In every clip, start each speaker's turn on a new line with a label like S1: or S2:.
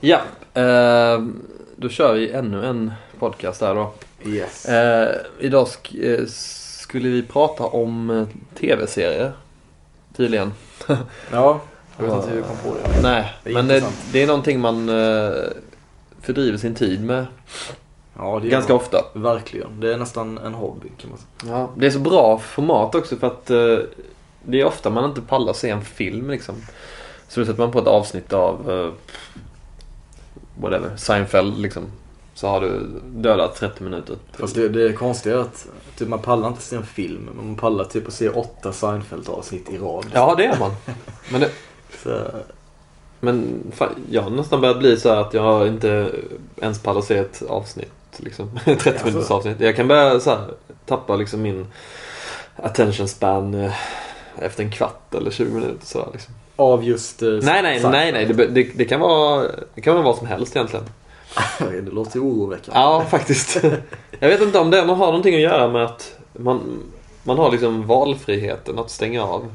S1: Ja, eh, då kör vi ännu en podcast här då.
S2: Yes.
S1: Eh, idag sk- eh, skulle vi prata om eh, tv-serier. Tydligen.
S2: Ja, jag vet inte hur jag kom på det.
S1: Nej,
S2: Det är
S1: men det,
S2: intressant.
S1: det är någonting man eh, fördriver sin tid med
S2: Ja, det är
S1: ganska ofta.
S2: Verkligen. Det är nästan en hobby kan man säga.
S1: Ja. Det är så bra format också för att eh, det är ofta man inte pallar se en film liksom. Så då sätter man på ett avsnitt av eh, whatever, Seinfeld liksom. Så har du dödat 30 minuter.
S2: Fast det, det är konstigt att typ, man pallar inte se en film, men man pallar typ att se åtta Seinfeld-avsnitt i rad.
S1: Ja, det är man. Men, det,
S2: Så,
S1: men fan, jag har nästan börjat bli så här att jag inte ens pallar se ett avsnitt. Liksom. 30 minuters avsnitt. Jag kan börja så här, tappa liksom min attention span eh, efter en kvart eller 20 minuter. Så här, liksom.
S2: av just eh,
S1: Nej, nej,
S2: Seinfeld.
S1: nej, nej. Det, be- det, det, kan vara, det kan vara vad som helst egentligen.
S2: det låter ju oroväckande.
S1: Ja, faktiskt. Jag vet inte om det man har någonting att göra med att man, man har liksom valfriheten att stänga av.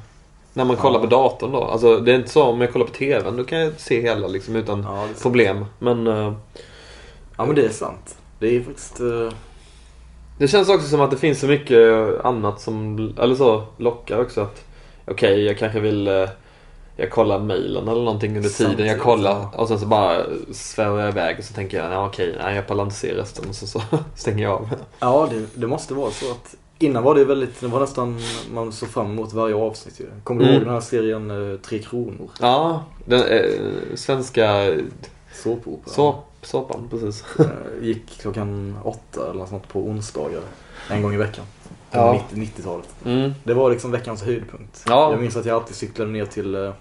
S1: När man kollar
S2: Ja.
S1: på datorn då. Alltså, det är inte så om jag kollar på TVn, då kan jag se hela liksom utan
S2: Ja, det är sant.
S1: problem. Men eh,
S2: ja, men det är sant. Det är faktiskt... eh,
S1: det känns också som att det finns så mycket annat som eller så, lockar också. att Okej, jag kanske vill eh, jag kollar mejlen eller någonting under tiden jag
S2: Samtidigt,
S1: kollar
S2: ja.
S1: och sen så bara svävar jag iväg och så tänker jag nej okej, nej jag pallar inte se resten och så, så stänger jag av.
S2: Ja, det, det måste vara så att... Innan var det väldigt, det var nästan, man såg fram emot varje avsnitt ju. Kommer du
S1: Mm.
S2: ihåg den här serien eh, Tre Kronor?
S1: Ja, den eh, svenska
S2: Såpopera.
S1: såp, såpan, precis.
S2: Eh, Gick klockan åtta eller något sånt på onsdagar. En gång i veckan. På
S1: Ja.
S2: 90 90-talet.
S1: Mm.
S2: Det var liksom veckans höjdpunkt.
S1: Ja.
S2: Jag minns att jag alltid cyklade ner till eh,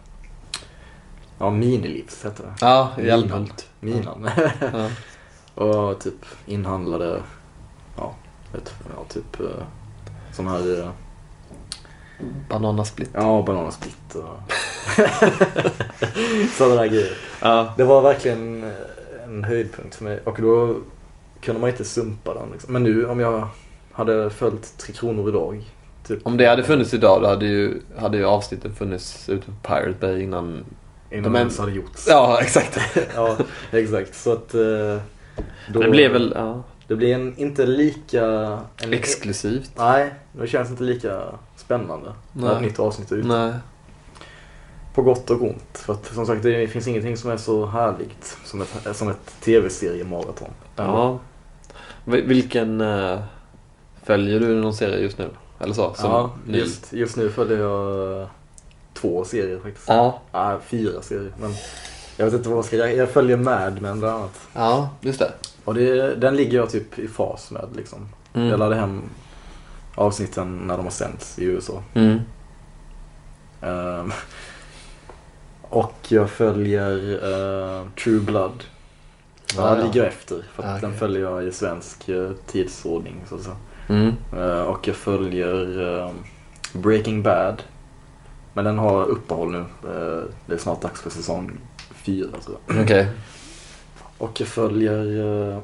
S2: ja, Minilivs hette det.
S1: Ja,
S2: Minan.
S1: Hjälmhult.
S2: Minan.
S1: Ja.
S2: och typ inhandlade, ja, vet, ja typ eh, sån här, eh,
S1: Bananasplitt.
S2: ja bananasplitt och sådana där grejer.
S1: Ja.
S2: Det var verkligen eh, en höjdpunkt för mig och då kunde man inte sumpa den. Liksom. Men nu om jag hade följt Tre Kronor idag. Typ,
S1: Om det hade funnits idag då hade ju, hade ju avsnittet funnits ute på Pirate Bay innan.
S2: Innan
S1: de
S2: det
S1: är-
S2: ens hade gjorts.
S1: Ja, exakt.
S2: ja, exakt. Så att... eh, då-
S1: Det blev väl ja,
S2: Det blir en, inte lika... En,
S1: exklusivt.
S2: Nej, det känns inte lika spännande när
S1: Nej.
S2: ett nytt avsnitt är ute.
S1: Nej.
S2: På gott och ont. För att som sagt, det finns ingenting som är så härligt som ett, som ett tv-seriemaraton.
S1: Ja. Vil- Vilken eh, följer du någon serie just nu? Eller så? Som
S2: ja
S1: ny?
S2: just, just nu följer jag eh, två serier faktiskt.
S1: Ja.
S2: Nej, fyra serier. Men jag vet inte vad jag ska jag, jag följer Mad Men bland annat.
S1: ja, just det.
S2: Och det, den ligger jag typ i fas med liksom.
S1: Mm.
S2: Jag laddade hem avsnitten när de har sänts i USA.
S1: Mm.
S2: Ehm, och jag följer eh, True Blood. Den
S1: Ah,
S2: här
S1: ja.
S2: ligger jag efter för att
S1: Ah, okej.
S2: den följer jag i svensk eh, tidsordning. Så att säga.
S1: Mm.
S2: Eh, och jag följer eh, Breaking Bad. Men den har uppehåll nu. Eh, det är snart dags för säsong fyra tror jag.
S1: Mm. Okej.
S2: Och jag följer eh,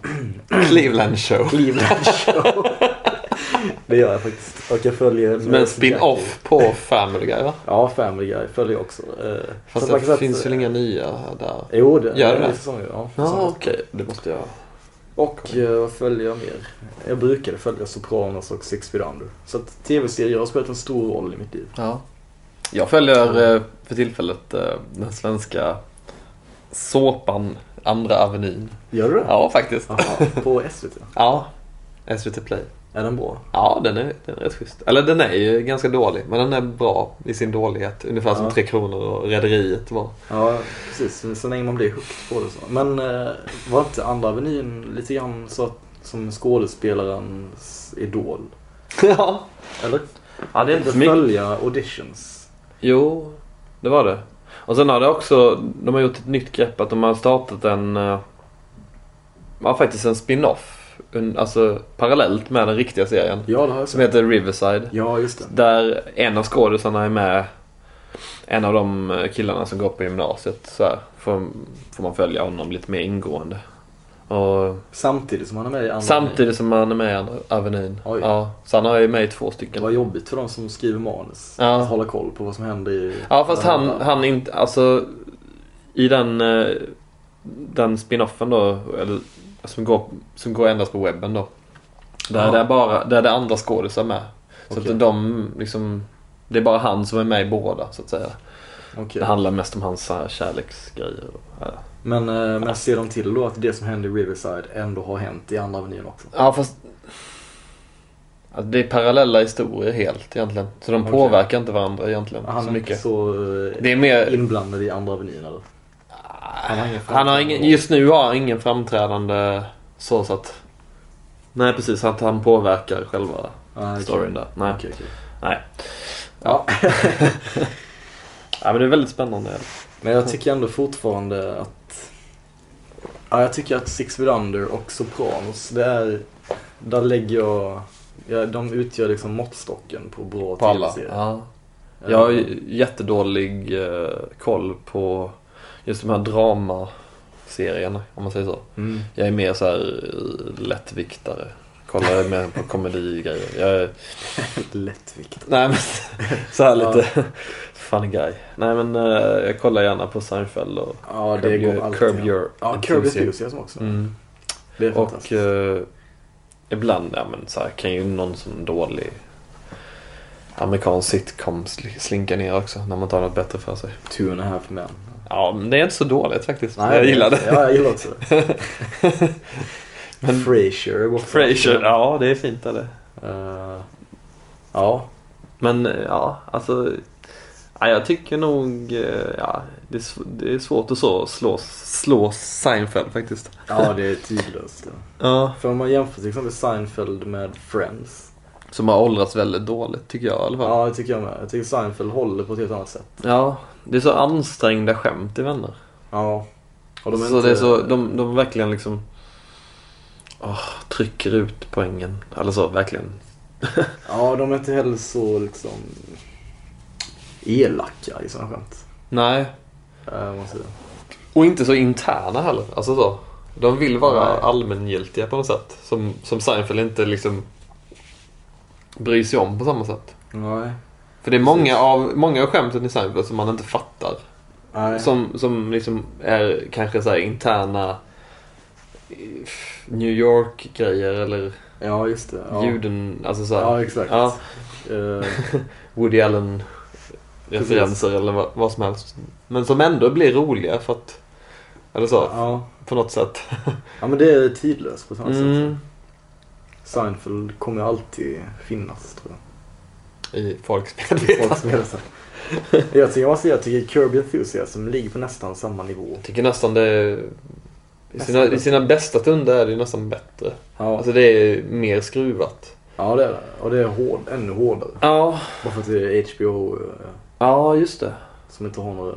S1: Cleveland show.
S2: Cleveland Show. det gör jag faktiskt. Och jag följer...
S1: Som en spin-off på Family Guy va?
S2: Ja, Family Guy följer jag också. Eh,
S1: Fast
S2: så man kan säga
S1: det
S2: att-
S1: finns väl inga nya där?
S2: Jo, det
S1: Gör
S2: det
S1: det?
S2: är säsonger. Ja,
S1: Ja,
S2: säsonger.
S1: okej. Det måste jag...
S2: Och eh, vad följer jag mer? Jag brukade följa Sopranos och Six Feet Under. Så att tv-serier har spelat en stor roll i mitt liv.
S1: Ja. Jag följer eh, för tillfället eh, den svenska såpan Andra Avenyn.
S2: Gör du det?
S1: Ja, faktiskt.
S2: Jaha, på SVT.
S1: Ja. SVT Play.
S2: Är den bra?
S1: Ja, den är, den är rätt schysst. Eller den är ju ganska dålig, men den är bra i sin dålighet. Ungefär som
S2: Ja.
S1: Tre Kronor och Rederiet var.
S2: Ja, precis. Men Så länge man blir hooked på det så. Men eh, var inte Andra Avenyn lite grann så att, som skådespelarens idol?
S1: ja.
S2: Eller?
S1: ja, det är
S2: Inte följa auditions.
S1: Jo, det var det. Och sen har det också, de har gjort ett nytt grepp att de har startat en, eh, ja faktiskt en spin-off. En, alltså parallellt med den riktiga serien.
S2: Ja, det har jag
S1: Som heter Riverside.
S2: Ja, just det.
S1: Där en av skådisarna är med, en av de eh, killarna som går på gymnasiet. Så här, får, får man följa honom lite mer ingående. Och,
S2: Samtidigt som han är med i Andra Avenyn.
S1: samtidigt som han är med i Andra Avenyn.
S2: Oj.
S1: Ja, så han har ju med i två
S2: Det
S1: stycken.
S2: var jobbigt för de som skriver manus.
S1: Ja.
S2: Att hålla koll på vad som händer i...
S1: Ja fast han, han inte, alltså i den eh, den spinoffen då, eller, som, går, som går endast på webben då. Där,
S2: Ja.
S1: det, är bara, där det är andra skådisar med. Så
S2: Okej.
S1: att de liksom, det är bara han som är med i båda så att säga.
S2: Okej.
S1: Det handlar mest om hans så här, kärleksgrejer. och- ja.
S2: Men, eh, men ser de till då att det som hände i Riverside ändå har hänt i Andra Avenyn också?
S1: Ja fast alltså, det är parallella historier helt egentligen. Så de
S2: Okej.
S1: påverkar inte varandra egentligen
S2: Han
S1: så
S2: är inte
S1: mycket.
S2: så eh,
S1: Det är mer... Ah,
S2: inblandad i Andra Avenyn eller? Han har ingen
S1: Han har ingen, just nu har han ingen framträdande så så att... Nej precis, att han påverkar själva
S2: Ah, okej.
S1: storyn där. Nej.
S2: Okej, okej.
S1: Nej.
S2: Ja.
S1: Ja, men det är väldigt spännande.
S2: Men jag tycker ändå fortfarande att... Ja, jag tycker att Six Feet Under och Sopranos, det är... Där lägger jag... Ja, de utgör liksom måttstocken på bra
S1: På alla.
S2: tv-serier.
S1: Ja.
S2: Eh,
S1: Jag har ju jättedålig eh, koll på just de här dramaserierna om man säger så.
S2: Mm.
S1: Jag är mer så här eh, lättviktare. Kollar mer på komedigrejer. Jag är,
S2: Lättvikt.
S1: nej men så här lite funny guy. Nej men eh, jag kollar gärna på Seinfeld och
S2: Ja, det
S1: Curb
S2: går
S1: Your,
S2: alltid.
S1: Curb Your
S2: Ja, Curb Your
S1: Enthusiasm.
S2: Enthusiasm också.
S1: Mm.
S2: Det är
S1: Och
S2: fantastiskt.
S1: eh, ibland ja, men, så här, kan ju någon som dålig amerikansk sitcom sl- slinka ner också när man tar något bättre för sig.
S2: Two and a half men.
S1: Ja, men det är inte så dåligt faktiskt. jag gillar det.
S2: Ja, jag gillar också det.
S1: Men-
S2: Frasier är också-
S1: Frasier, ja det är fint är det.
S2: Eh, ja,
S1: Men eh, ja, alltså. Ja, jag tycker nog eh, ja, det, är, sv- det är svårt att så slå, slå Seinfeld faktiskt.
S2: ja, det är tidlöst. ja.
S1: Ja.
S2: För om man jämför till exempel Seinfeld med Friends.
S1: Som har åldrats väldigt dåligt tycker jag i alla fall.
S2: Ja, det tycker jag med. Jag tycker Seinfeld håller på ett helt annat sätt.
S1: Ja, det är så ansträngda skämt i Vänner.
S2: Ja. Och de är
S1: så
S2: inte...
S1: det är så, de, de verkligen liksom åh, trycker ut poängen. Eller så, verkligen.
S2: Ja, de är inte heller så liksom elaka i sådana skämt.
S1: Nej,
S2: Eh, om man säger.
S1: och inte så interna heller. Alltså så. De vill vara
S2: Nej.
S1: allmängiltiga på något sätt. Som, som Seinfeld inte liksom bryr sig om på samma sätt.
S2: Nej.
S1: För det är
S2: Precis.
S1: många av, många av skämten i Seinfeld som man inte fattar.
S2: Nej.
S1: Som, som liksom är kanske så här interna eh, New York-grejer eller
S2: Ja, just det. Ja,
S1: juden, alltså så här.
S2: ja exakt.
S1: Ja.
S2: Eh,
S1: Woody Allen referenser eller vad, vad som helst. Men som ändå blir roliga för att, eller så,
S2: ja.
S1: på något sätt.
S2: ja, men det är tidlöst på ett annat
S1: Mm.
S2: sätt. Seinfeld kommer alltid finnas, tror jag.
S1: I folks
S2: I
S1: medvetande.
S2: folks medvetande. jag tycker, jag måste säga, jag tycker Kirby Enthusiasm ligger på nästan samma nivå.
S1: Jag tycker nästan det är, i sina,
S2: Nästan
S1: I sina bästa stunder är det ju nästan bättre.
S2: Ja,
S1: Alltså det är mer skruvat.
S2: ja det är det. Och det är hård, ännu hårdare.
S1: Ja,
S2: Bara för att det är HBO eh,
S1: ja just det.
S2: som inte har några,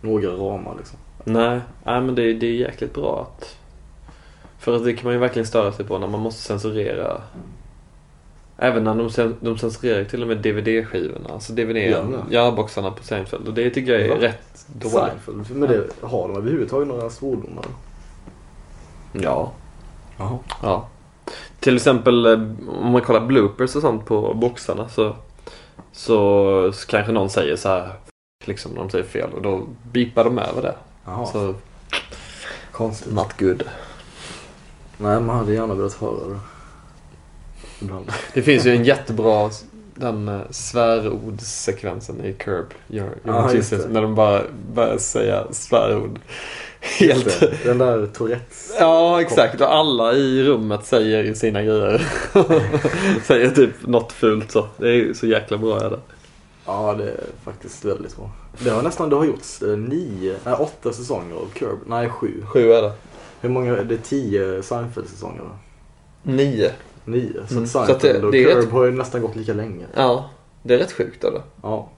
S2: några ramar liksom.
S1: Nej, nej men det, det är jäkligt bra att... För att det kan man ju verkligen störa sig på när man måste censurera. Även när de, cen- de censurerar till och med DVD-skivorna. Alltså DVD,
S2: Ja,
S1: ja,
S2: men.
S1: boxarna på Seinfeld. Och det tycker jag är
S2: Va?
S1: rätt dåligt.
S2: Seinfeld, men det, har de överhuvudtaget några svordomar?
S1: Ja.
S2: Jaha.
S1: ja. Till exempel eh, om man kollar bloopers och sånt på boxarna så, så, så kanske någon säger så här liksom när de säger fel och då bipar de över det.
S2: Jaha,
S1: Så,
S2: konstigt.
S1: not good.
S2: Nej, man hade gärna velat höra det. Ibland.
S1: Det finns ju en jättebra den eh, svärordssekvensen i Curb Your, your
S2: Ja, just
S1: Jesus,
S2: det.
S1: när de bara börjar säga svärord. Helt.
S2: Den där Tourettes...
S1: Ja, exakt. Och alla i rummet säger sina grejer. säger typ något fult så. Det är ju så jäkla bra är det.
S2: Ja, det är faktiskt väldigt bra. Det har nästan det har gjorts eh, nio, nej åtta säsonger av Curb. Nej, sju.
S1: Sju är det.
S2: Hur många, det är tio Seinfeld-säsonger va?
S1: Nio.
S2: Nio. Så
S1: Mm.
S2: att
S1: Så att
S2: Seinfeld
S1: det-
S2: och
S1: det är
S2: Curb
S1: ett-
S2: har ju nästan gått lika länge.
S1: Ja, det är rätt sjukt eller?
S2: Ja.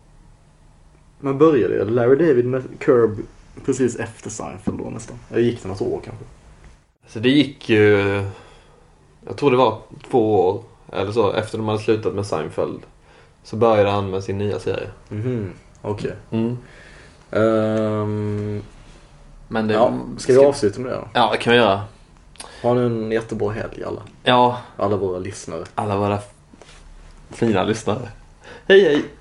S2: Men började ju Larry David med Curb precis efter Seinfeld då nästan? Det gick det något år kanske?
S1: Så det gick ju... Jag tror det var två år eller så efter de hade slutat med Seinfeld. Så började han med sin nya serie.
S2: Mhm, okej.
S1: Mm.
S2: Ehm,
S1: Men det...
S2: ja, ska vi avsluta med det då?
S1: Ja, det kan vi göra.
S2: Ha nu en jättebra helg alla,
S1: Ja,
S2: alla våra lyssnare.
S1: alla våra fina lyssnare. Hej hej!